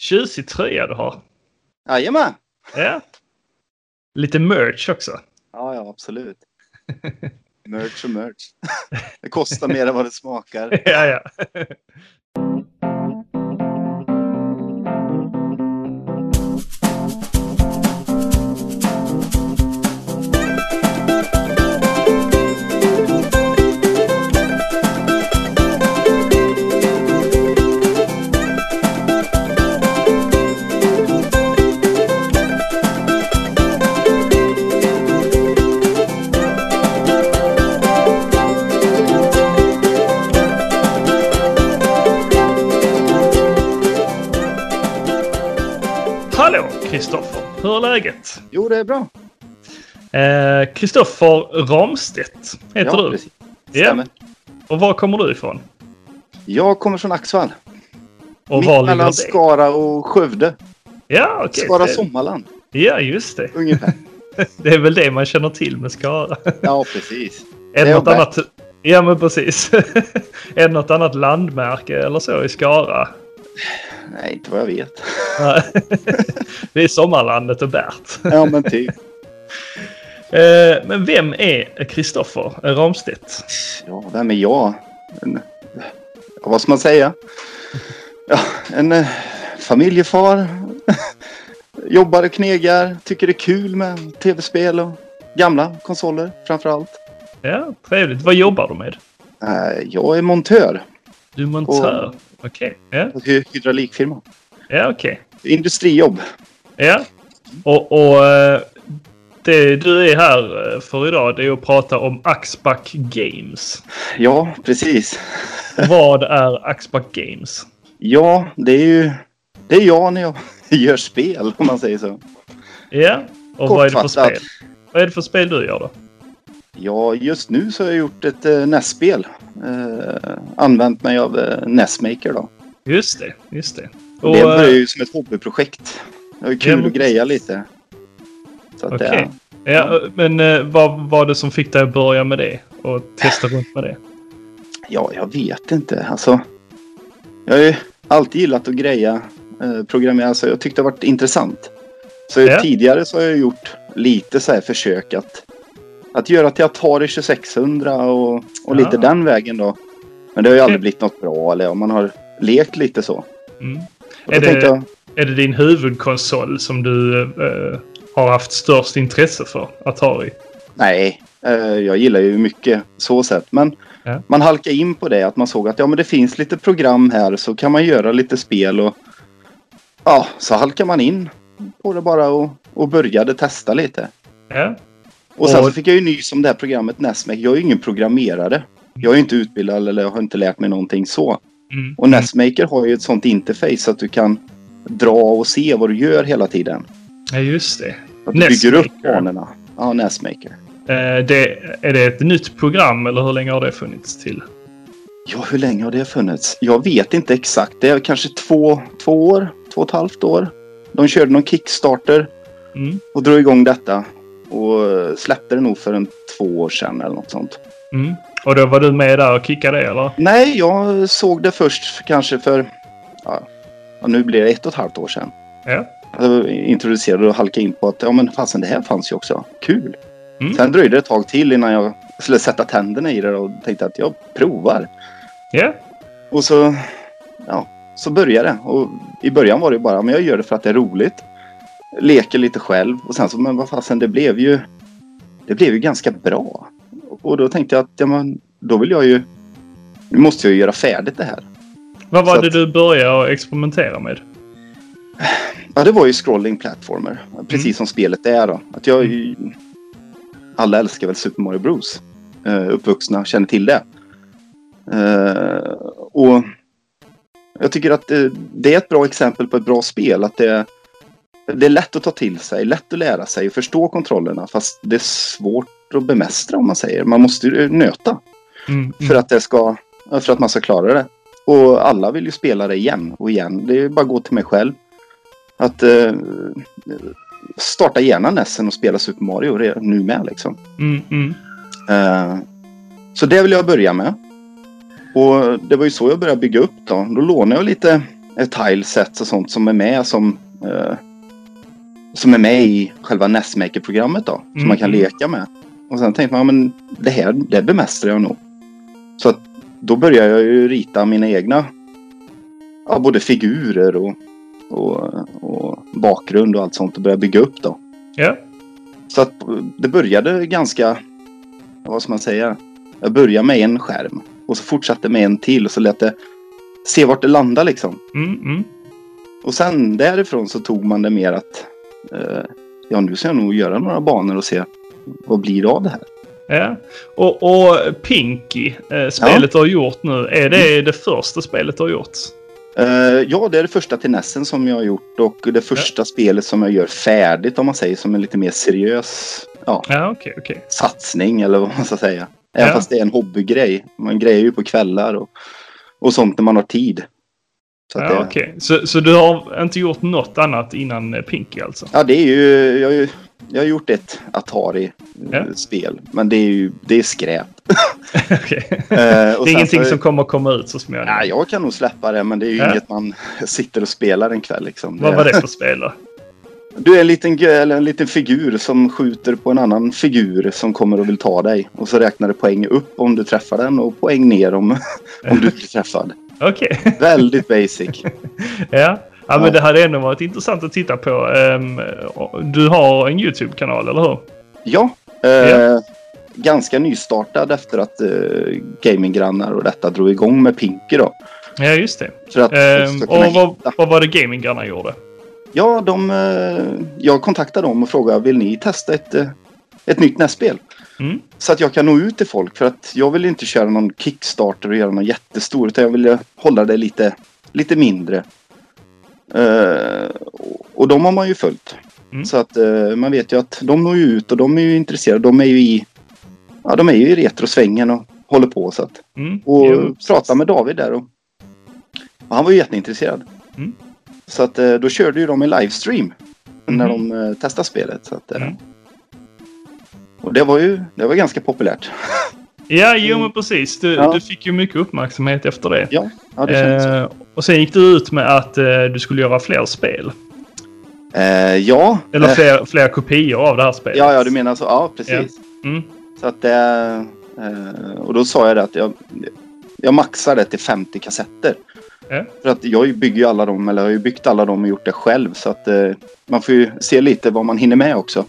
Tjusig tröja du har. Jajamän! Ja. Lite merch också. Ja, ja, absolut. Merch och merch. Det kostar mer än vad det smakar. ja, ja. Hallå Kristoffer, hur är läget? Eh, Jo, det är bra. Kristoffer Ramstedt heter ja, du. precis. Ja. Stämmer. Och var kommer du ifrån? Jag kommer från Axvall. Och Mitt var ligger mellan det? Skara och Skövde. Ja, okej. Skara Det- Sommarland, Ja, just det. ungefär. Det är väl det man känner till med Skara. Ja, precis. Är Det det är något bäst. annat? Ja, men precis. är det något annat landmärke eller så i Skara? Nej, inte vad jag vet. Nej. det är sommarlandet och Bert. Ja, men typ. Eh, Men vem är Kristoffer Ramstedt? Ja, vem är jag? En, ja, vad ska man säga? Ja, en eh, familjefar. Jobbar och knegar. Tycker det är kul med tv-spel och gamla konsoler framför allt. Ja, trevligt. Vad jobbar du med? Eh, Jag är montör Du är montör. Okej. Ja, på hy- hydraulikfirma. ja okej. Industrijobb. Ja. Och, och eh, det du är här eh, för idag det är att prata om Axback Games. Ja, precis. Vad är Axback Games? Ja, det är ju... Det är jag när jag gör spel, om man säger så. Ja. Och vad är det för Kortfattat. spel? Vad är det för spel du gör då? Ja, just nu så har jag gjort ett eh, NES-spel. Eh, använt mig av eh, NESmaker då. Just det, just det. Och, det började eh, ju som ett hobbyprojekt. Det var ju kul Ja, men- att greja lite. Så att Okej. det, ja, men eh, vad var det som fick dig att börja med det? Och testa runt med det? ja, jag vet inte. Alltså, jag har ju alltid gillat att greja, eh, programmera. Så jag tyckte det varit intressant. Så Ja. tidigare så har jag gjort lite så här försök att, att göra till Atari 2600 och, och lite Ah. den vägen då. Men det har ju aldrig Okej. blivit något bra. Eller om man har lekt lite så. Mm. Och Är det- då tänkte jag, Är det din huvudkonsol som du eh, har haft störst intresse för? Atari? Nej, eh, jag gillar ju mycket så sätt. Men Ja. man halkade in på det att man såg att ja, men det finns lite program här så kan man göra lite spel och ja, så halkar man in på det bara och, och började testa lite. Ja. Och sen Och- så fick jag ju nys om det här programmet Nesmec. Jag är ju ingen programmerare. Jag är ju inte utbildad eller jag har inte lärt mig någonting så. Mm. Och Nesmaker har ju ett sånt interface så att du kan dra och se vad du gör hela tiden. Ja, just det. Att du Nesmaker. bygger upp banorna. Ja, Nesmaker. Eh, det. Är det ett nytt program eller hur länge har det funnits till? Ja, hur länge har det funnits? Jag vet inte exakt. Det är kanske två, två år, två och ett halvt år. De körde någon Kickstarter Mm. och drog igång detta. Och eh, släppte det nog för en två år sedan eller något sånt. Mm. Och då var du med där och kickade det eller? Nej, jag såg det först för- kanske för... Ja, ja, nu blir det ett och ett halvt år sedan. Ja. Jag introducerade och halkade in på att ja, men fasen, det här fanns ju också. Kul! Mm. Sen dröjde det ett tag till innan jag skulle sätta tänderna i det och tänkte att jag provar. Ja. Och så, ja, så började det. Och I början var det ju bara, men jag gör det för att det är roligt. Leker lite själv och sen så, men vad fasen, det blev ju, det blev ju ganska bra. Och då tänkte jag att, ja men, då vill jag ju, nu måste jag ju göra färdigt det här. Vad var Så det att- du började att experimentera med? Ja, det var ju scrolling platformer, precis Mm. som spelet är då. Att jag, alla älskar väl Super Mario Bros. Eh, uppvuxna känner till det. Eh, och jag tycker att det, det är ett bra exempel på ett bra spel. Att det, det är lätt att ta till sig, lätt att lära sig och förstå kontrollerna. Fast det är svårt att bemästra om man säger. Man måste ju nöta Mm. Mm. för att, det ska, för att man ska klara det. Och alla vill ju spela det igen och igen. Det är bara att gå till mig själv. Att eh, starta gärna Nessen och spela Super Mario re- nu med liksom. Mm. Mm. Eh, så det vill jag börja med. Och det var ju så jag började bygga upp då. Då lånade jag lite eh, tilesets och sånt som är med som eh, som är med i själva Nestmaker-programmet då. Mm. Som man kan leka med. Och sen tänkte man, ja, men det här det bemästrar jag nog. Så att då började jag ju rita mina egna ja, både figurer och, och, och bakgrund och allt sånt och började bygga upp då. Ja. Så att eh, det började ganska, vad ska man säga? Jag började med en skärm och så fortsatte med en till och så lät det se vart det landade liksom. Mm, mm. Och sen därifrån så tog man det mer att eh, ja, nu ska jag nog göra några banor och se vad blir det av det här. Ja. Och, och Pinky, eh, spelet du har gjort nu, är det det första spelet du har gjort? Eh, ja, det är det första till Nessen som jag har gjort och det första spelet som jag gör färdigt om man säger som en lite mer seriös ja, Ja, okej, okej. satsning eller vad man ska säga. Även Ja. fast det är en hobbygrej. Man grejer ju på kvällar och, och sånt när man har tid. Så, att Ja, det, okej. så, så du har inte gjort något annat innan eh, Pinky alltså? ja, det är ju... Jag, har ju- jag har gjort ett Atari-spel. Men det är ju det är skräp. Okej. Eh, och Det sen är ingenting så- som kommer att komma ut så småningom. Ja, jag kan nog släppa det, men det är ju Ja. inget man sitter och spelar en kväll. Liksom. Vad var det för spel då? Du är en liten, gö- eller en liten figur som skjuter på en annan figur som kommer och vill ta dig. Och så räknar det poäng upp om du träffar den och poäng ner om, om du blir träffad. Okej. Väldigt basic. Ja. Ja, men Ja. det hade ändå varit intressant att titta på. Ehm, Du har en YouTube-kanal, eller hur? Ja, eh, Ja. ganska nystartad efter att eh, gaminggrannar och detta drog igång med Pinky då. Ja, just det. För att Ehm, också kunna och vad, hitta. vad var det gamingarna gjorde? Ja, de, eh, jag kontaktade dem och frågade vill ni testa ett, eh, ett nytt nästspel? Mm. Så att jag kan nå ut till folk. För att jag vill inte köra någon Kickstarter och göra någon jättestor. Utan jag vill hålla det lite, lite mindre. Eh, och- och de har man ju följt. Mm. Så att eh, man vet ju att de når ju ut och de är ju intresserade. De är ju i, ja, de är ju i retrosvängen och håller på. Så att, Mm. och Jo, pratade med David där. Och, och han var ju jätteintresserad. Mm. Så att eh, då körde ju de i livestream. När Mhm. de eh, testade spelet. Så att, eh, Mm. Och det var ju det var ganska populärt. Ja, jo men precis. Du, Mm. Ja. du fick ju mycket uppmärksamhet efter det. Ja, ja det kändes så. Eh, och sen gick du ut med att eh, du skulle göra fler spel. Eh, ja. Eller eh, fler, fler kopior av det här spelet. ja, ja, du menar så. Ja, precis. Mm. Så att det... Eh, och då sa jag det att jag, jag maxar det till 50 kassetter. Ja. För att jag bygger ju alla dem, eller jag har ju byggt alla dem och gjort det själv. Så att eh, man får ju se lite vad man hinner med också.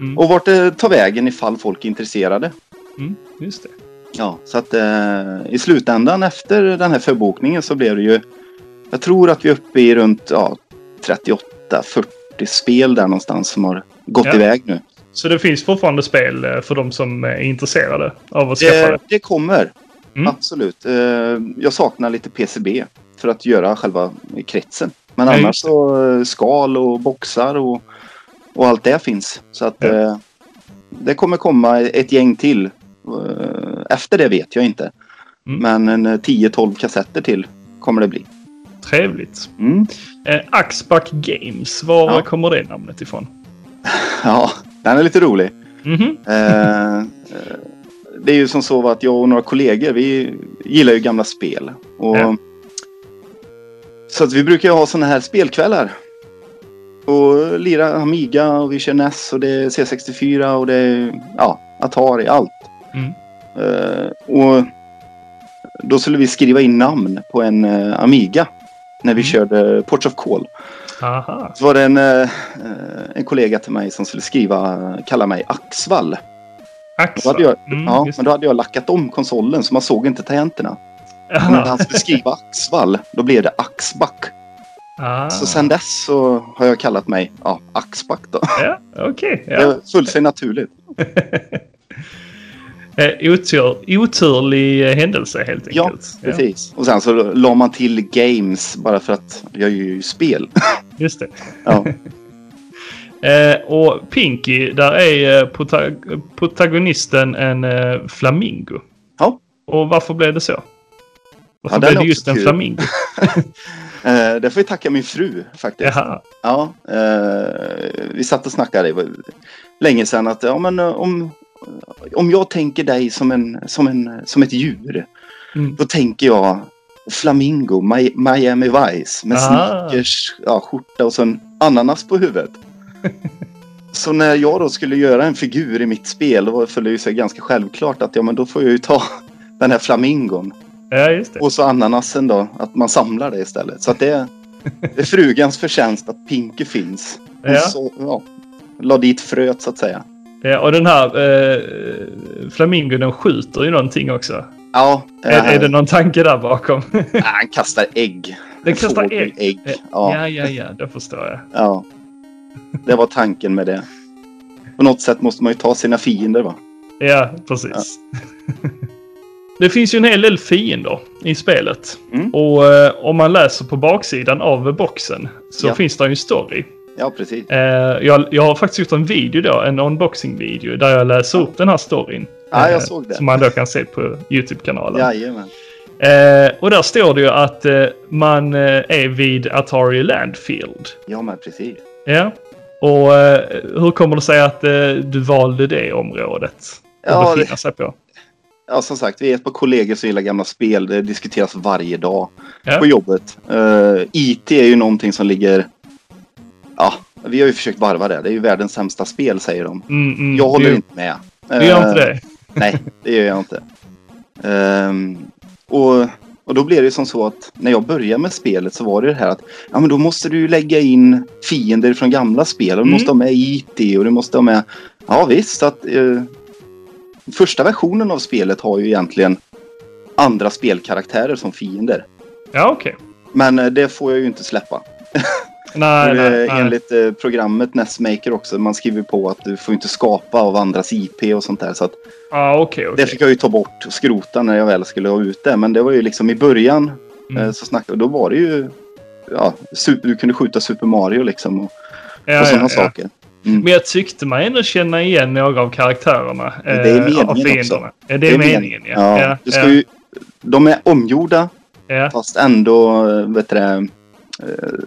Mm. Och vart det tar vägen ifall folk är intresserade. Mm, just det. Ja, så att eh, i slutändan efter den här förbokningen så blev det ju... Jag tror att vi är uppe i runt ja, 38-40 spel där någonstans som har gått Ja. iväg nu. Så det finns fortfarande spel eh, för de som är intresserade av att skaffa Eh, Det, det. det kommer. Mm. Absolut. Eh, jag saknar lite PCB för att göra själva kretsen. Men Ja, annars just det. så eh, skal och boxar och, och allt det finns. Så att Ja. eh, det kommer komma ett gäng till. Eh, efter det vet jag inte. Mm. Men en eh, 10-12 kassetter till kommer det bli. Trevligt. Mm. Eh, Axback Games, var Ja. kommer det namnet ifrån? Ja, den är lite rolig. Mhm. Eh, eh, det är ju som så att jag och några kollegor, vi gillar ju gamla spel. Och, Ja. Så att vi brukar ju ha sådana här spelkvällar. Och lira Amiga och vi kör NES och det är C64 och det är ja, Atari, allt. Mm. Eh, och då skulle vi skriva in namn på en eh, Amiga när vi Mm. körde Ports of Call. Aha. Så var det en, eh, eh, en kollega till mig som skulle skriva, kalla mig Axvall. Då Axel. hade jag, Mm, ja, just men då hade jag lackat om konsolen så man såg inte tangenterna. det. Men när Aha. han skulle skriva Axvall, då blev det Axback. Ah. Så sen dess så har jag kallat mig ja, Axback då. Ja, okej. Det ja. var fullt sig naturligt. Eh, otur, oturlig eh, händelse helt Ja, enkelt. Precis. Och sen så la man till Games bara för att jag gör ju spel. just det. Ja. Eh, och Pinky, där är eh, prota- protagonisten en eh, flamingo. Ja. Och varför blev det så? Varför blev den är det också just en kul. flamingo? Eh, det får vi tacka min fru faktiskt. Jaha. Ja, eh, vi satt och snackade det var länge sedan att ja, men, eh, om, om jag tänker dig som, en, som, en, som ett djur Mm. då tänker jag Flamingo, Mi- Miami Vice med Ah. sneakers, ja, skjorta och sen ananas på huvudet. Så när jag då skulle göra en figur i mitt spel då föll det ju sig ganska självklart att ja, men då får jag ju ta den här flamingon Ja, just det. och så ananasen då, att man samlar det istället. Så att det, det är frugans förtjänst att Pinky finns. Hon Ja. Så, ja, la dit fröet så att säga. Ja, och den här eh, flamingon den skjuter ju någonting också. Ja, eh, Är, är det någon tanke där bakom? ah, han kastar ägg. Den kastar ägg. ägg. Eh, Ja. Ja, ja, ja, det förstår jag. Ja. Det var tanken med det. På något sätt måste man ju ta sina fiender va? Ja, precis. det finns ju en hel del fiender i spelet. Mm. Och eh, om man läser på baksidan av boxen så Ja. finns det ju en story. Ja, precis. Eh, jag, jag har faktiskt gjort en video då, en unboxing-video, där jag läser upp den här storyn. Ja, eh, jag såg det. Som man då kan se på YouTube-kanalen. Jajamän. Eh, och där står det ju att eh, man eh, är vid Atari Landfield. Ja, men precis. Ja. Och eh, hur kommer det sig att eh, du valde det området? Att Ja, befinna sig på? Ja, som sagt, vi är ett par kollegor som gillar gamla spel. Det diskuteras varje dag Ja. på jobbet. Eh, IT är ju någonting som ligger... Ja, vi har ju försökt varva det. Det är ju världens sämsta spel, säger de. Mm, mm, Jag håller du, inte med. Du gör Eh, inte det? Nej, det gör jag inte. Ehm, och, och då blev det som så att när jag började med spelet så var det det här att ja, men då måste du ju lägga in fiender från gamla spel. Och du Mm. måste ha med IT och du måste ha med... Ja visst, så att eh, första versionen av spelet har ju egentligen andra spelkaraktärer som fiender. Ja, okej. Men eh, det får jag ju inte släppa. Nej, För, eh, nej, nej. Enligt eh, programmet Nestmaker också, man skriver på att du får inte skapa av andras IP och sånt där. Så att Ja, Ah, okej, okej. det fick jag ju ta bort och skrota när jag väl skulle ha ut det. Men det var ju liksom i början Mm. eh, så snackade Då var det ju... Ja, super, du kunde skjuta Super Mario liksom och, Ja, och ja, sådana ja. saker. Men jag tyckte man ändå känna igen några av karaktärerna. eh, Det är meningen av fienderna. också. Ja, det, är meningen, ja. Ja, ja, du ska ja, Ju, de är omgjorda ja. fast ändå eh, vet du, det, eh,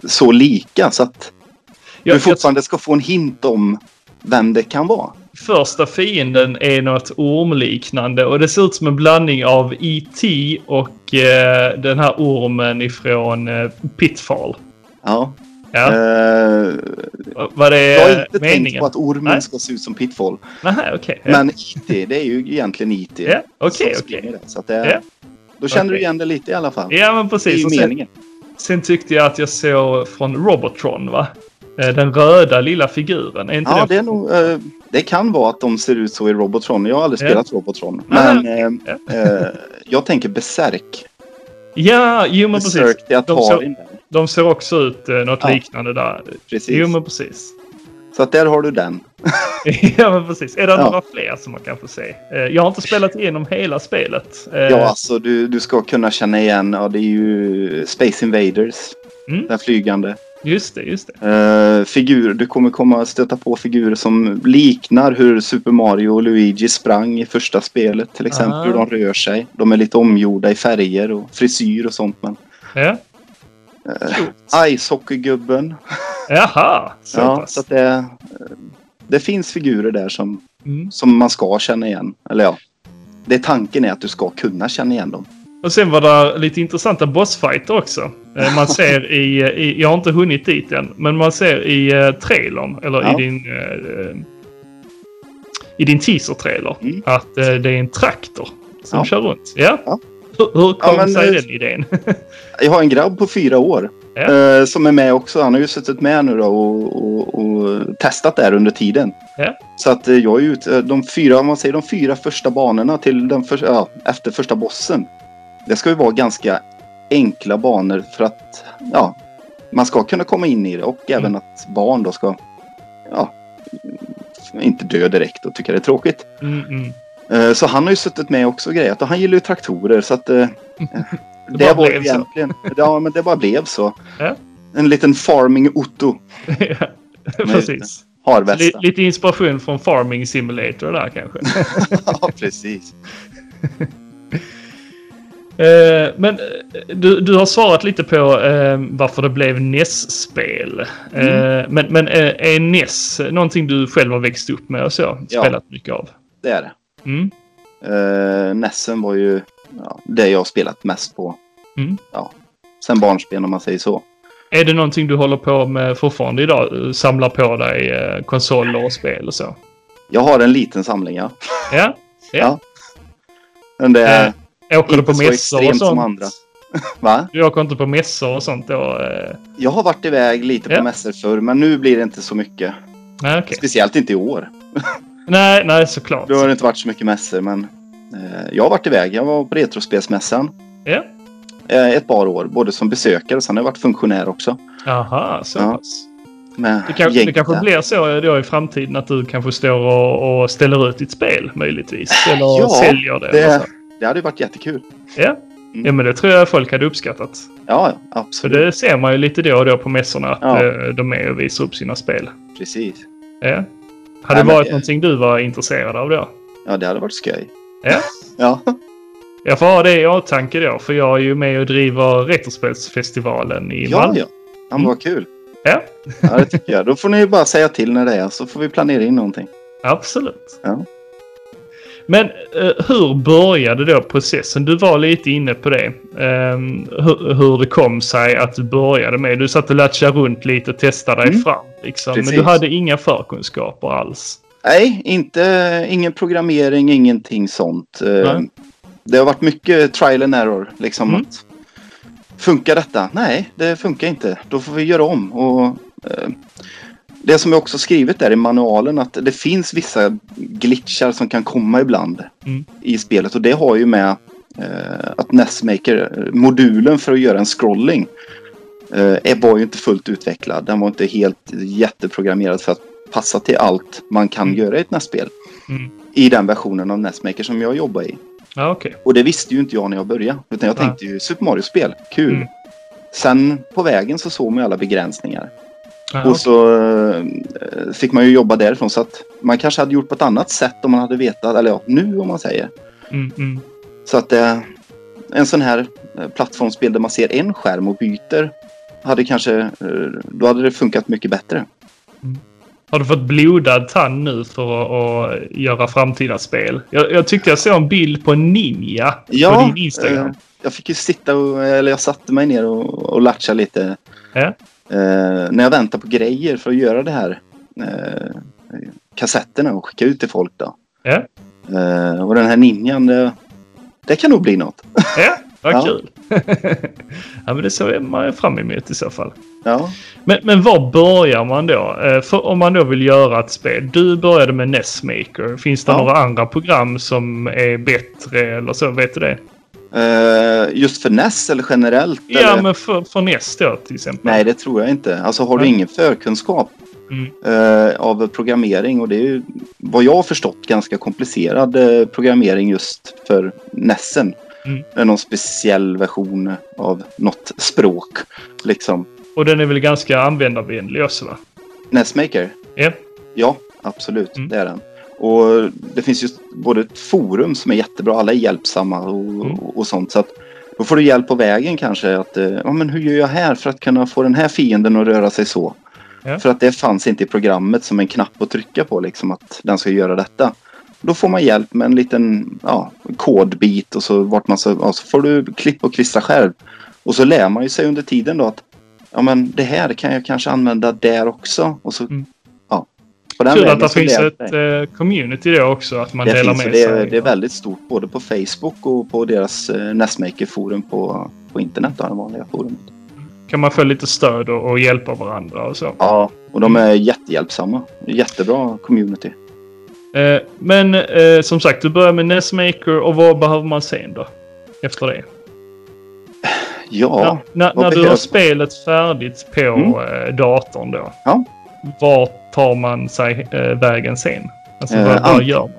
så lika så att Jag, du jag, fortfarande ska få en hint om vem det kan vara. första fienden är något ormliknande och det ser ut som en blandning av E.T. och eh, den här ormen ifrån eh, Pitfall. Ja. Ja, Eh, var det jag har inte eh, meningen? tänkt på att ormen Nej. ska se ut som Pitfall. Nähä, okej. ja. Men IT, det är ju egentligen IT. ja, okej, som okej. springer där. Så att det, Ja. Då känner Okej. du igen det lite i alla fall. Ja, men det är precis. ju Och sen, meningen. sen tyckte jag att jag såg från Robotron, va? Eh, Den röda lilla figuren. Är inte Ja, den det, är nog, eh, det kan vara att de ser ut så i Robotron. Jag har aldrig Ja. spelat Robotron. Nej, Men eh, eh, jag tänker Berserk. Ja, jo men precis. Berserk till De ser- Atari. De ser också ut eh, något Ja. liknande där. Precis. Jo men precis. Så att där har du den. ja men precis. Är det Ja. några fler som man kan få se? Eh, jag har inte spelat igenom hela spelet. Eh, Ja, alltså du, du ska kunna känna igen. Ja, det är ju Space Invaders. Mm. Den flygande. Just det, just det. Eh, figur, du kommer komma att stöta på figurer som liknar hur Super Mario och Luigi sprang i första spelet till exempel. Ah. Hur de rör sig. De är lite omgjorda i färger och frisyr och sånt. Men Ja. Eh, Icehockeygubben. Jaha, så Ja, pass. så att det, eh, det finns figurer där som, Mm. som man ska känna igen. Eller ja, det är tanken är att du ska kunna känna igen dem. Och sen var det lite intressanta bossfighter också. Eh, Man ser i, i, jag har inte hunnit dit än, men man ser i eh, trailern, eller Ja. i din... eh, eh, I din teaser-trailer, Mm. att eh, det är en traktor som Ja. kör runt. Ja. Ja. Hur, hur kom men, sig eh, den idén? Jag har en grabb på fyra år Ja. eh, som är med också. Han har ju suttit med nu då och, och, och testat där under tiden. Ja. Så att eh, jag är ute, eh, de fyra, om man säger de fyra första banorna till den för, ja, efter första bossen. Det ska ju vara ganska enkla banor för att ja, man ska kunna komma in i det och Mm. även att barn då ska ja, inte dö direkt och tycka det är tråkigt. Mm, mm. Eh, Så han har ju suttit med också och grejat och han gillar ju traktorer så att... eh, eh, det bara var ju blev så. egentligen... Ja, men det bara blev så. Ja. En liten farming Otto Ja, precis. Li- harvästa. lite inspiration från Farming Simulator där kanske. ja, precis. Eh, men eh, du, du har svarat lite på eh, varför det blev NES-spel. Mm. Eh, men men eh, är NES någonting du själv har växt upp med och så? Ja. Spelat mycket av? Det Eh, är det. Mm. Uh, Nessen var ju ja, det jag har spelat mest på. Mm. Ja. Sen barnsben om man säger så. Är det någonting du håller på med fortfarande idag? Samlar på dig eh, konsoler och spel och så? Jag har en liten samling ja. Ja? Men det är Eh, Åker du Inte på så mässor och extremt som sånt? andra. Va? Du åker inte på mässor och sånt då? Eh, Jag har varit iväg lite på Ja. mässor förr, men nu blir det inte så mycket. nej, okej. Speciellt inte i år. Nej, nej, såklart. Då har det inte varit så mycket mässor, men eh, jag har varit iväg. Jag var på Retrospelsmässan Ja. eh, ett par år, både som besökare och sen har jag varit funktionär också. Aha, så Ja. pass. Med Det, kan, gäng det kanske där. blir så då i framtiden att du kanske står och, och ställer ut ditt spel möjligtvis. Eller Ja, säljer det. eller det, så. det hade ju varit jättekul. Ja. Mm. ja, men det tror jag folk hade uppskattat. Ja, ja, För absolut. det ser man ju lite då och då på mässorna att Ja. eh, de är och visar upp sina spel. Precis. Ja. Nej, Hade det men varit det- någonting du var intresserad av då? Ja, det hade varit skoj. Ja. ja. Jag får ha det i åtanke då, för jag är ju med och driver Retrospelsfestivalen i Ja, Malmö. ja. Ja, men vad kul. Ja. Ja, det tycker jag. Då får ni ju bara säga till när det är så får vi planera in någonting. Absolut. Ja. Men eh, hur började då processen? Du var lite inne på det. Ehm, hur, hur det kom sig att du började med. Du satt och latchade runt lite och testade dig Mm. fram. Liksom. Men du Precis. hade inga förkunskaper alls. Nej, inte, ingen programmering, ingenting sånt. Eh, Nej. Det har varit mycket trial and error. Liksom Mm. att, funkar detta? Nej, det funkar inte. Då får vi göra om. Och, eh, det som jag också skrivit där i manualen att det finns vissa glitchar som kan komma ibland Mm. i spelet. Och det har ju med eh, att NESmaker-modulen för att göra en scrolling eh, var ju inte fullt utvecklad. Den var inte helt jätteprogrammerad för att passa till allt man kan Mm. göra i ett NES-spel. Mm. I den versionen av NESmaker som jag jobbar i. Ja, okej. Och det visste ju inte jag när jag började. Utan jag Nej. tänkte ju Super Mario-spel, kul. Mm. Sen på vägen så såg man ju alla begränsningar. Ja, Och så eh, fick man ju jobba därifrån. Så att man kanske hade gjort på ett annat sätt om man hade vetat. Eller ja, nu om man säger. mm, mm. Så att eh, en sån här eh, plattformsspel där man ser en skärm och byter. Hade kanske, eh, då hade det funkat mycket bättre. Har du fått blodad tand nu för att, att göra framtida spel? Jag, jag tyckte jag såg en bild på en ninja på din Instagram. eh, jag fick ju sitta och, eller jag satte mig ner och, och latcha lite. Ja. Eh, när jag väntar på grejer för att göra det här eh, kassetterna och skicka ut till folk då. Ja. Eh, och den här ninjan, det, det kan nog bli något. Ja, vad Ja. kul. ja, men det ser man fram emot i så fall. Ja, Men, men var börjar man då? Eh, För om man då vill göra ett spel. Du började med Nessmaker. Finns det Ja. några andra program som är bättre eller så? Vet du det? eh, just för NES eller generellt? Ja, eller? men för, för Ness då till exempel. Nej, det tror jag inte. Alltså har du Nej. ingen förkunskap Mm. eh, av programmering och det är ju vad jag har förstått ganska komplicerad eh, programmering just för Nessen. Mm. Det är Någon speciell version av något språk. Liksom. Och den är väl ganska användarvänlig också va? Nessmaker? Ja. Ja, absolut. Mm. Det är den. Och det finns ju både ett forum som är jättebra. Alla är hjälpsamma och, Mm. och sånt. Så att då får du hjälp på vägen kanske. Att, eh, ja, men hur gör jag här för att kunna få den här fienden att röra sig så? Ja. För att det fanns inte i programmet som en knapp att trycka på. Liksom att den ska göra detta. Då får man hjälp med en liten ja, kodbit och så, vart man så, ja, så får du klippa och klistra själv. Och så lär man ju sig under tiden då att ja, men det här kan jag kanske använda där också. Och så, Mm. ja, på den Kul vägen att det så finns lär jag ett mig. eh, community då också. Att man Det delar finns, med och det, är, sig. det är väldigt stort både på Facebook och på deras eh, Nestmaker-forum på, på internet. Då, det vanliga forumet. Kan man få lite stöd och, och hjälpa varandra och så. Ja. Och de är jättehjälpsamma. Jättebra community. Eh, men eh, som sagt, du börjar med Nessmaker och vad behöver man sen då? Efter det? Ja, när när- vad när du behöver har man? spelet färdigt på Mm. eh, datorn då. Ja. Vart tar man sig eh, vägen sen? Alltså Eh, vad, vad ant- gör man?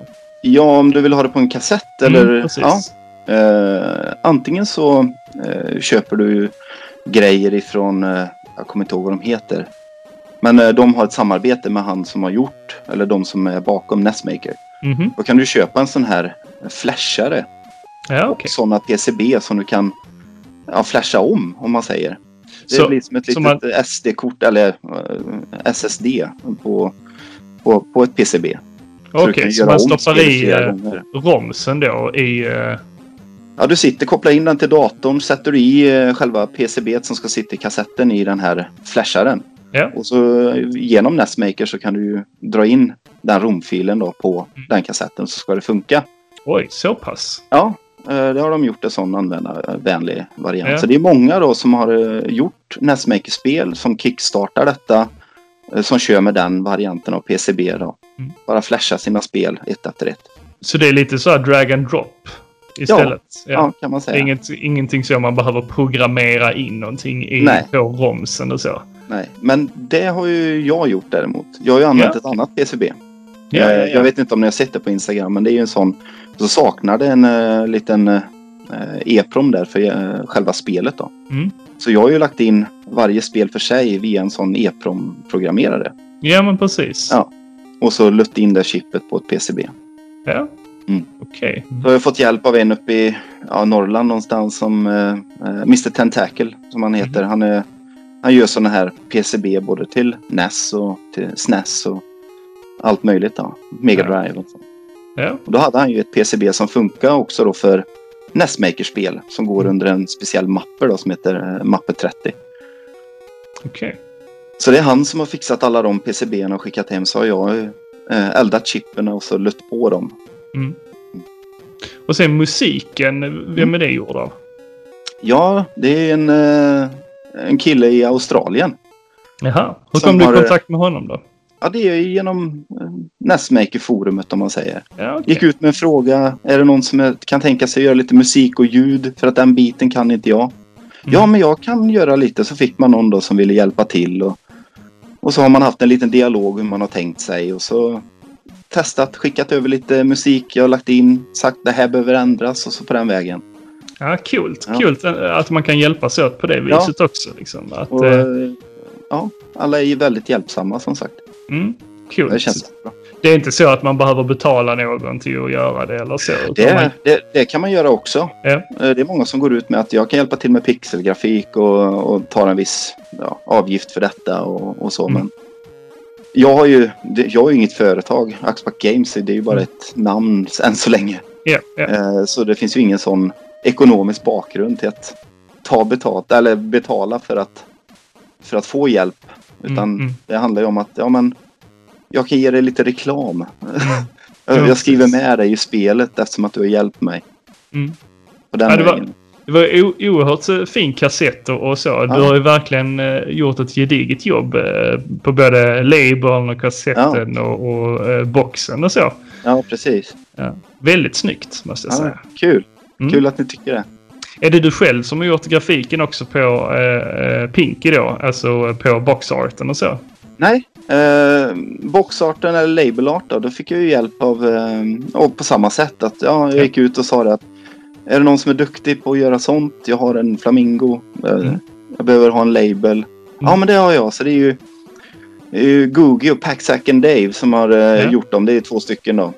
ja, om du vill ha det på en kassett eller... Mm, precis. ja, Eh, antingen så eh, köper du ju grejer ifrån, eh, jag kommer inte ihåg vad de heter. Men eh, de har ett samarbete med han som har gjort, eller de som är bakom Nestmaker. Mhm. Då kan du köpa en sån här flashare. Ja, och okej. Sådana PCB som du kan ja, flasha om, om man säger. Det Så- blir som ett så litet SD-kort eller eh, SSD på, på, på ett PCB. Okej, du kan så göra man om stoppar spelet i flera eh, gånger. romsen då i eh, Ja, du sitter, kopplar in den till datorn, sätter du i eh, själva PCB som ska sitta i kassetten i den här flasharen. Ja. Och så eh, genom Nestmaker så kan du ju dra in den romfilen då på Mm. den kassetten så ska det funka. Oj, så pass. Ja, eh, det har de gjort en sån användarvänlig variant. Ja. Så det är många då som har eh, gjort Nestmaker-spel som kickstartar detta. eh, Som kör med den varianten av PCB då. Mm. Bara flashar sina spel ett efter ett. Så det är lite så här drag and drop istället. Ja. Ja, kan man Det är säga. inget, ingenting så man behöver programmera in någonting i, Nej. på romsen och så. Nej. Men det har ju jag gjort däremot. Jag har ju använt Ja. ett annat PCB. Ja, ja, Eh, ja. Jag vet inte om ni har sett det på Instagram, men det är ju en sån. Så saknar det en eh, liten eh, EPROM där för eh, själva spelet då. Mm. Så jag har ju lagt in varje spel för sig via en sån EPROM-programmerare. ja men precis. Ja. Och så lutt in det chippet på ett PCB. Ja. Mm. Okej. Så har jag fått hjälp av en uppe i ja, Norrland någonstans som eh, eh, Mr Tentacle som han heter. Mm. Han, är, han gör sådana här PCB både till NES och till SNES och allt möjligt. Då. Mega Ja. Drive och så. Ja. Och då hade han ju ett PCB som funkar också då för NES-makerspel som går under en speciell mapper då som heter eh, Mapper 30. Okej. Så det är han som har fixat alla de PCBerna och skickat hem så har jag eh, eldat chippen och så lött på dem. Och sen musiken. Vem är det gjord av? Ja, det är en, eh, en kille i Australien. Jaha. Hur Som kom du har- eh, i kontakt med honom då? Ja, det är ju genom eh, NES-maker-forumet om man säger. Ja, okej. Gick ut med en fråga. Är det någon som är, kan tänka sig att göra lite musik och ljud? För att den biten kan inte jag. Ja, men jag kan göra lite. Så fick man någon då som ville hjälpa till. Och, och så har man haft en liten dialog hur man har tänkt sig. Och så testat, skickat över lite musik jag har lagt in. Sagt det här behöver ändras och så på den vägen. Ja, coolt. Ja. Coolt att man kan hjälpas åt på det viset också. Liksom. Att, Och, eh, eh, ja, alla är ju väldigt hjälpsamma som sagt. mm, coolt. Det känns bra. Det är inte så att man behöver betala någon till att göra det eller så. utan Det, man, det, det kan man göra också. Ja. Eh, Det är många som går ut med att jag kan hjälpa till med pixelgrafik och, och tar en viss ja, avgift för detta och, och så. Mm. Men jag har ju det- jag har ju inget företag. Axback Games det är ju bara Mm. ett namn än så länge. ja, ja. Eh, Så det finns ju ingen sån ekonomisk bakgrund till att ta betalt eller betala för att, för att få hjälp. Utan Mm, mm. det handlar ju om att ja, men, jag kan ge dig lite reklam. Mm. Ja, jag skriver precis. med dig i spelet eftersom att du har hjälpt mig. Mm. På den Ja, det var- vägen. Det var o- oerhört eh, fin kassett och och så. Du har ju verkligen eh, gjort ett gediget jobb eh, på både labeln och kassetten och, och eh, boxen och så. Ja, precis. Ja. Väldigt snyggt måste jag Ja, säga. kul. Mm. Kul att ni tycker det. Är det du själv som har gjort grafiken också på eh, eh, Pinky då? Alltså eh, på boxarten och så? Nej, eh, boxarten eller labelart då, då fick jag ju hjälp av, eh, och på samma sätt att ja, jag Ja. gick ut och sa det att är det någon som är duktig på att göra sånt? Jag har en flamingo. Eh, Mm. Jag behöver ha en label. Ja, men det har jag. Så det är ju, det är ju Googie och Packsack and Dave som har eh, Ja. gjort dem. Det är två stycken då.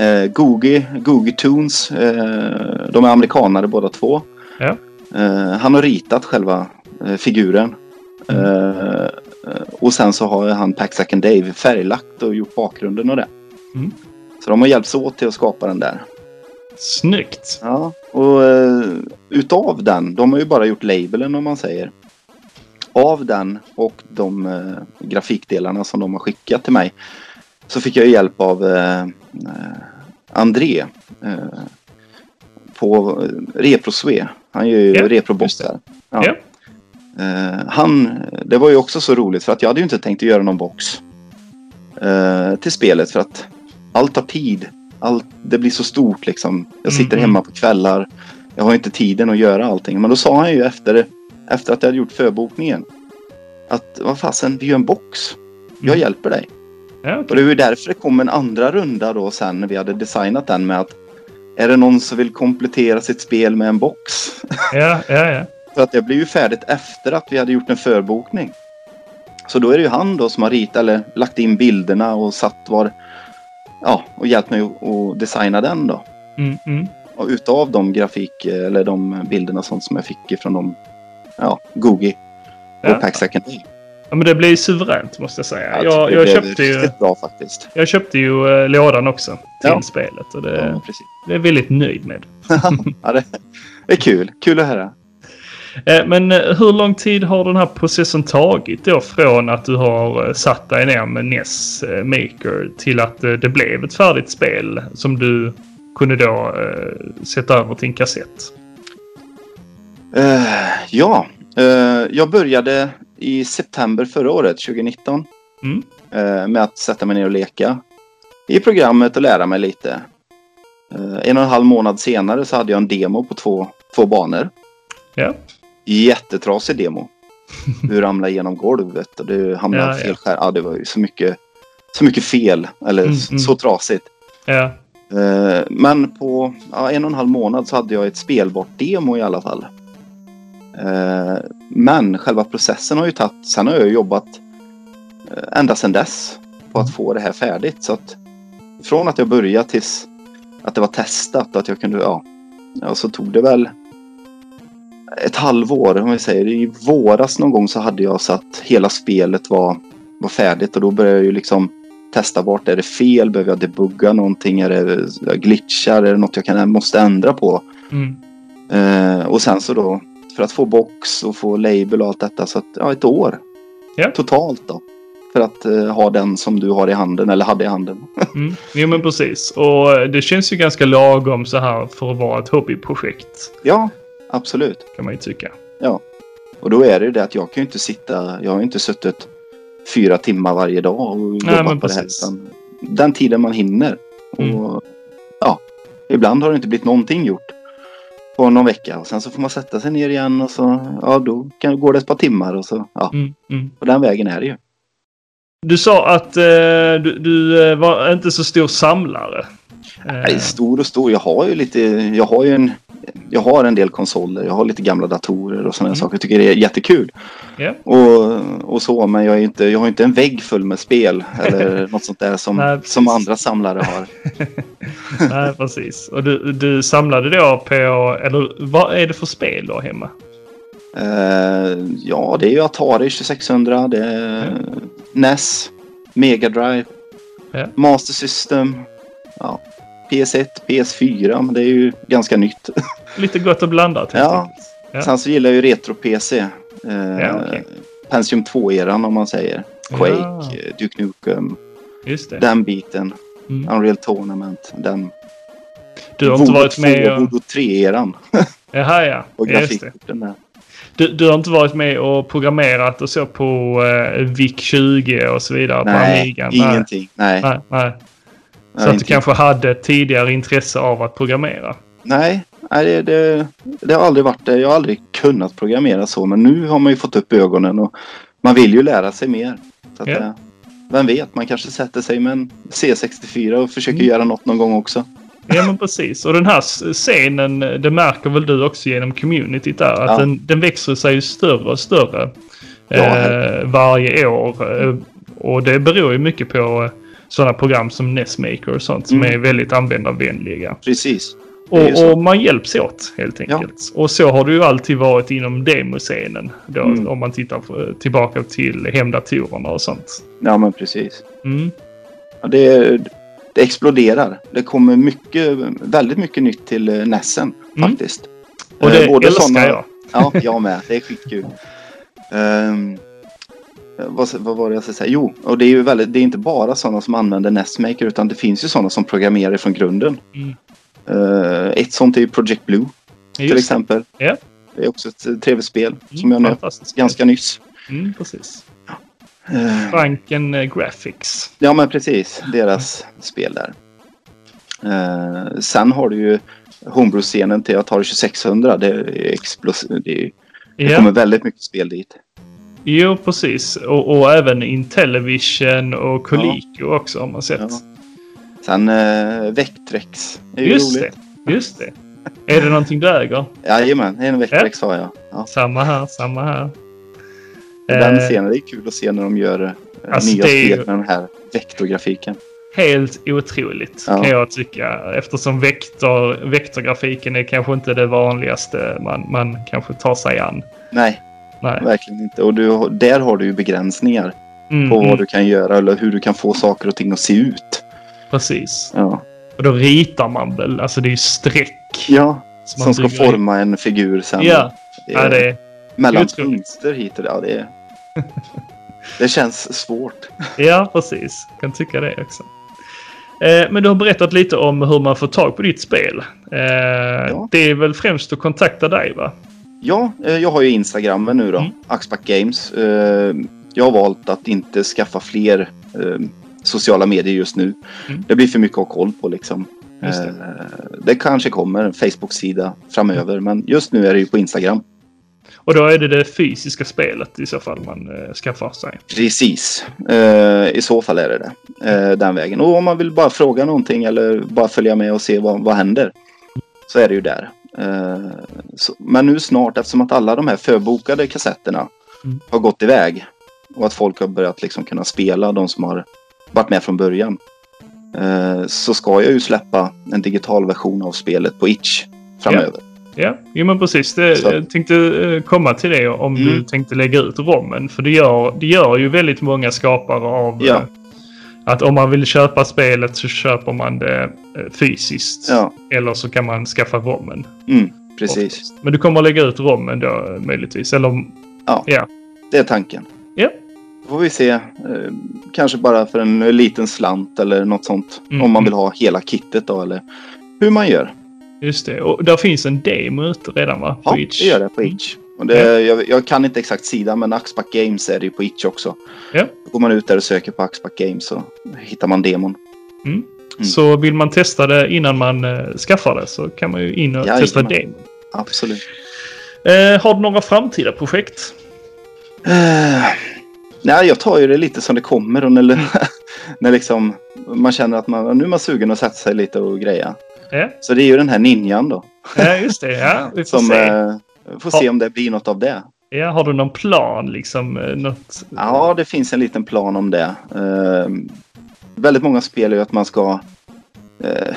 Eh, Googie, Googie Tunes. Eh, de är amerikanare båda två. Ja. Eh, han har ritat själva eh, figuren. Mm. Eh, eh, och sen så har han Packsack and Dave färglagt och gjort bakgrunden och det. Mm. Så de har hjälpts åt till att skapa den där. Snyggt! Ja, och eh, utav den, de har ju bara gjort labelen om man säger. Av den och de eh, grafikdelarna som de har skickat till mig så fick jag ju hjälp av eh, eh, André eh, på ReproSwe. Han gör ju Ja, just reproboxar. Ja. Ja. Eh, han, det var ju också så roligt för att jag hade ju inte tänkt att göra någon box eh, till spelet för att allt tar tid. Allt, det blir så stort liksom. Jag sitter Mm. hemma på kvällar. Jag har inte tiden att göra allting. Men då sa han ju efter, efter att jag hade gjort förbokningen att vad fasen, vi gör en box. Jag Mm. hjälper dig. Ja, Och okej. det var ju därför det kom en andra runda då sen när vi hade designat den med att är det någon som vill komplettera sitt spel med en box? ja, ja, ja. För att det blev ju färdigt efter att vi hade gjort en förbokning. Så då är det ju han då som har ritat eller lagt in bilderna och satt var... Ja, och hjälpt mig att- att designa den då. Mm, mm. Och utav de grafik eller de bilderna sånt som jag fick ifrån de... Ja, Googie och Ja. Packsack and Day. ja, men det blir ju suveränt måste jag säga. Jag jag, tycker jag, det blev köpte ju, Riktigt bra faktiskt. jag köpte ju eh, lådan också till Ja. spelet och Ja, det, precis. det är jag väldigt nöjd med ja, det är kul. Kul att höra. Eh, Men eh, hur lång tid har den här processen tagit då från att du har eh, satt dig ner med NES eh, Maker till att eh, det blev ett färdigt spel som du kunde då eh, sätta över till en kassett? Eh, ja, eh, jag började i september förra året, 2019. Mm. eh, med att sätta mig ner och leka i programmet och lära mig lite. Eh, en och en halv månad senare så hade jag en demo på två, två banor. Ja. Jättetrasig demo. Du ramlade genom golvet och du hamnade Ja, fel ja. skär. Ja, det var ju så mycket, så mycket fel. Eller Mm, så, mm. så trasigt. Ja. Eh, men på ja, en och en halv månad så hade jag ett spelbart demo i alla fall. Eh, men själva processen har ju tagit... Sen har jag jobbat eh, ända sedan dess på att få det här färdigt. Så att från att jag började tills att det var testat och att jag kunde... Ja, ja, så tog det väl ett halvår om vi säger. I våras någon gång så hade jag så att hela spelet var, var färdigt och då började jag ju liksom testa vart är det fel, behöver jag debugga någonting, är det jag glitchar, är det något jag kan, måste ändra på? Mm. Eh, och sen så då för att få box och få label och allt detta så att, ja, ett år Ja. totalt då. För att eh, ha den som du har i handen eller hade i handen. Mm. Jo men precis. Och eh, det känns ju ganska lagom så här för att vara ett hobbyprojekt. Ja, absolut. Kan man ju tycka. Och då är det ju det att jag kan ju inte sitta, jag har ju inte suttit fyra timmar varje dag och jobbat men på det här. precis. utan Den tiden man hinner. Mm. Och, ja, ibland har det inte blivit någonting gjort på någon vecka och sen så får man sätta sig ner igen och så ja, då kan, går det ett par timmar och så ja, Mm. Mm. på den vägen är det ju. Du sa att eh, du, du eh, var inte så stor samlare. Eh, Nej, stor och stor. Jag har ju lite, jag har ju en, jag har en del konsoler. Jag har lite gamla datorer och sådana Mm. saker. Jag tycker det är jättekul. Ja. Och, och så, men jag, är inte, jag har inte en vägg full med spel eller något sånt där Nej, som, precis. som andra samlare har. Nej, precis. Och du, du samlade då på, eller vad är det för spel då hemma? Eh, ja, det är ju Atari 2600, det är NES, Mega Drive, Ja. Master System, ja, PS1, PS4, men det är ju ganska nytt. Lite gott och blandat. helt Ja. enkelt. Ja. Sen så gillar jag ju Retro-PC. Eh, Ja, okej. Pentium 2-eran om man säger. Quake, Ah. eh, Duke Nukem, Just det. den biten. Mm. Unreal Tournament, den. Du har inte varit med och... Voodoo 3-eran Jaha, ja. och ja, Just det. grafikkorten där. Du, du har inte varit med och programmerat och så på eh, VIC-20 och så vidare på Nej, Amigan? ingenting. Nej. Nej, nej. Ah, Så nej, att du ingenting. kanske hade ett tidigare intresse av att programmera? Nej, nej det, det, det har aldrig varit det. Jag har aldrig kunnat programmera så. Men nu har man ju fått upp ögonen och man vill ju lära sig mer. Så att, Ja. eh, Vem vet, man kanske sätter sig med en C64 och försöker Mm. göra något någon gång också. Ja men precis. Och den här scenen, det märker väl du också genom communityt där, att Ja. den, den växer sig ju större och större Ja, eh, varje år. Eh, Och det beror ju mycket på eh, sådana program som Nessmaker och sånt som Mm. är väldigt användarvänliga. Precis. Det är ju Och, så. och man hjälps åt helt enkelt. Och så har det ju alltid varit inom demoscenen. Då, Mm. Om man tittar på, tillbaka till hemdatorerna och sånt. Ja, men precis. Mm. Ja, det, det exploderar. Det kommer mycket, väldigt mycket nytt till eh, Nessen Mm. faktiskt. Och Eh, det älskar såna- jag. Ja, jag med. Det är skitkul. Ehm, vad, vad var det jag skulle säga? Jo, och det är ju väldigt, det är inte bara sådana som använder Nestmaker utan det finns ju sådana som programmerar från grunden. Mm. Eh, ett sånt är ju Project Blue Just till det. exempel. Ja. Det är också ett eh, trevligt spel som Mm, jag nöt fantastiskt. ganska nyss. Mm, precis. Eh, Franken eh, Graphics. Ja, men precis. Deras spel där. Eh, sen har du ju Homebrew-scenen till Atari 2600. Det är explos- det, är, det Ja, kommer väldigt mycket spel dit. jo precis. Och, och även Intellivision och Coleco också har man sett. Sen eh, Vectrex. Det är ju just roligt. det, just det. Är det någonting du äger? Jajamän, en Vectrex har jag. Ja. Samma här, samma här. Den Eh, scenen, det är kul att se när de gör eh, Alltså, nya det är ju- spel med den här vektorgrafiken. Helt otroligt Ja. kan jag tycka. Eftersom vektor, vektorgrafiken är kanske inte det vanligaste man, man kanske tar sig an. Nej, Nej. verkligen inte. Och du, har- där har du ju begränsningar Mm, på vad mm, du kan göra eller hur du kan få saker och ting att se ut. precis. Ja, Och då ritar man väl. Alltså det är ju streck verk. Ja, man som ska bygger i. forma en figur sen. Ja, Det är ja det är... mellan otroligt. punkter hit och där. Det, är... det känns svårt. Ja, precis. Kan tycka det också. Eh, Men du har berättat lite om hur man får tag på ditt spel. Eh, Det är väl främst att kontakta dig, va? Ja, eh, jag har ju Instagrammen nu då. Mm. Axback Games. Eh, Jag har valt att inte skaffa fler eh, sociala medier just nu. Mm. Det blir för mycket att ha koll på liksom. Just det. Eh, det kanske kommer en Facebook-sida Mm. framöver, men just nu är det ju på Instagram. Och då är det det fysiska spelet i så fall man eh, skaffar sig. Precis. Eh, I så fall är det det. Eh, den vägen. Och om man vill bara fråga någonting eller bara följa med och se vad, vad händer. Så är det ju där. Eh, så, men nu snart, eftersom att alla de här förbokade kassetterna Mm. har gått iväg. Och att folk har börjat liksom kunna spela, de som har varit med från början. Eh, så ska jag ju släppa en digital version av spelet på Itch framöver. Ja, jo, men precis. Det, Så. jag tänkte eh, komma till det om Mm. du tänkte lägga ut rommen. För det gör, det gör ju väldigt många skapare av Ja. eh, att om man vill köpa spelet så köper man det eh, fysiskt. Ja, Eller så kan man skaffa rommen. mm, precis. oftast. Men du kommer att lägga ut rommen då eh, möjligtvis? Eller om- Det är tanken. Ja. Då får vi se. eh, Kanske bara för en liten slant eller något sånt. Mm. Om man vill ha hela kittet då eller hur man gör. Just det. Och där finns en demo ute redan va? Ja, På Mm. det gör det på Itch. Och det, jag, jag kan inte exakt sidan men Axback Games är det ju på Itch också. Ja. Då går man ut där och söker på Axback Games så hittar man demon. Mm. Så vill man testa det innan man eh, skaffar det så kan man ju in och Jajamän. testa demon. Absolut. Eh, har du några framtida projekt? Eh, nej, jag tar ju det lite som det kommer och när, när liksom man känner att man, nu är man sugen att sätta sig lite och greja. Ja, Så det är ju den här ninjan då. ja just det. Ja, vi får Som, se. eh, får se om det blir något av det. Ja, har du någon plan liksom? eh, Något... Ja, det finns en liten plan om det. Ehm, väldigt många spel är ju att man ska, eh,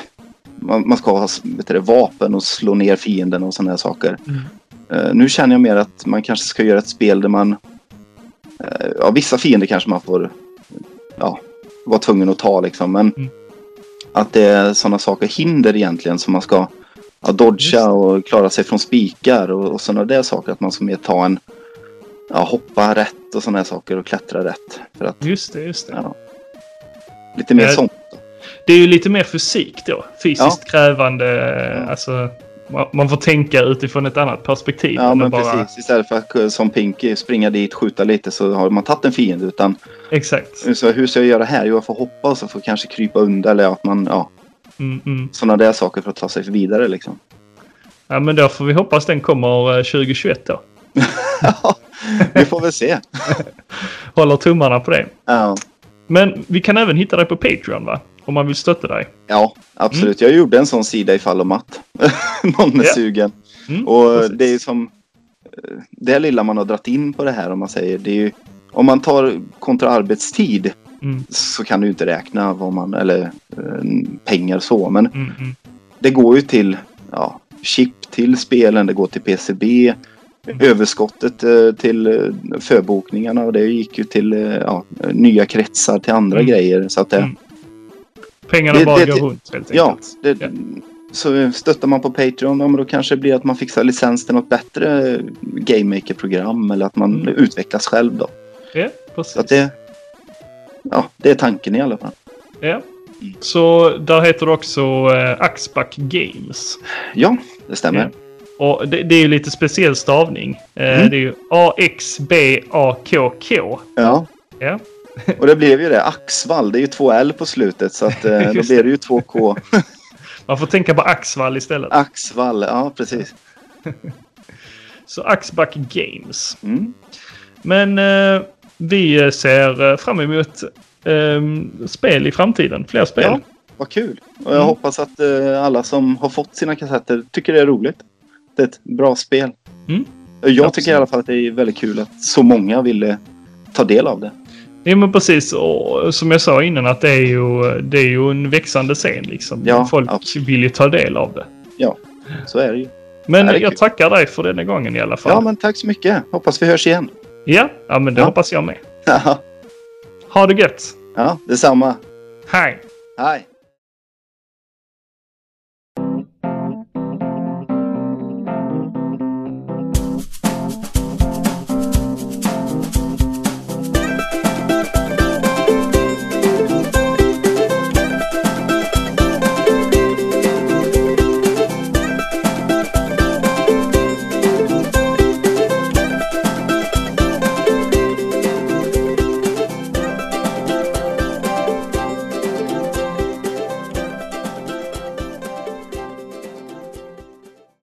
man, man ska ha vet du, det, vapen och slå ner fienden och sådana här saker. Mm. Eh, nu känner jag mer att man kanske ska göra ett spel där man... Eh, ja, vissa fiender kanske man får ja, vara tvungen att ta liksom. Men Mm. att det är sådana saker, hinder egentligen som man ska ja, Just det. dodga och klara sig från spikar och, och sådana där saker. Att man ska mer ta en... Ja, hoppa rätt och sådana här saker och klättra rätt. För att Just det, just det. Ja. lite mer Eh, sånt. Det är ju lite mer fysik då. Fysiskt krävande. eh, Ja. Alltså, ma- man får tänka utifrån ett annat perspektiv. Ja, än men att bara... precis. Istället för att eh, som Pinky springa dit, skjuta lite så har man tagit en fiende. Utan Exakt. Så hur ska jag göra här? Jo, jag får hoppa och så får jag kanske krypa undan eller att man, ja, Mm, mm. sådana där saker för att ta sig vidare liksom. Ja, men då får vi hoppas den kommer eh, 2021 då. Ja, vi får väl se. Håller tummarna på det. Ja, Men vi kan även hitta dig på Patreon va? Om man vill stötta dig. ja absolut. Jag gjorde en sån sida ifall om att någon är Mm. Ja. sugen. Mm, Och precis. det är ju som eh, det lilla man har dragit in på det här om man säger. Det är ju, om man tar kontra arbetstid Mm, så kan du ju inte räkna vad man, eller eh, pengar så. Men mm, mm. det går ju till ja, chip till spelen, det går till PCB. Mm. Överskottet eh, till eh, förbokningarna och det gick ju till eh, ja, nya kretsar till andra Mm. grejer. Så att det, Mm. Pengarna Det- bara det- går det- runt helt enkelt. ja, det, Ja. Så stöttar man på Patreon, ja, men då kanske det blir att man fixar licens till något bättre GameMaker-program eller att man Mm. utvecklas själv då. Ja, Så precis. att det, ja, det är tanken i alla fall. Ja. Så där heter det också eh, Axback Games. Ja, det stämmer. Och det, det är ju lite speciell stavning. Eh, Mm. Det är ju A-X-B-A-K-K. Ja. Ja. Och det blev ju det. Axvall, det är ju två L på slutet så att, eh, då Just blir det ju två K. Man får tänka på Axvall istället. Axvall, ja precis. Så Axback Games. Mm. Men eh, vi ser eh, fram emot eh, spel i framtiden. Fler spel. Ja, vad kul. Och jag Mm. hoppas att eh, alla som har fått sina kassetter tycker det är roligt. Det är ett bra spel. Mm. Jag Absolut. tycker i alla fall att det är väldigt kul att så många ville ta del av det. Ja men precis. Och som jag sa innan att det är ju, det är ju en växande scen liksom. Ja, Folk absolut. vill ju ta del av det. Så är det ju. Men Ja, det är jag kul. tackar dig för denna gången i alla fall. Ja, men tack så mycket. Hoppas vi hörs igen. ja, ja, men det Ja. hoppas jag med. Ha det gött! ja, detsamma. Hej! Hej.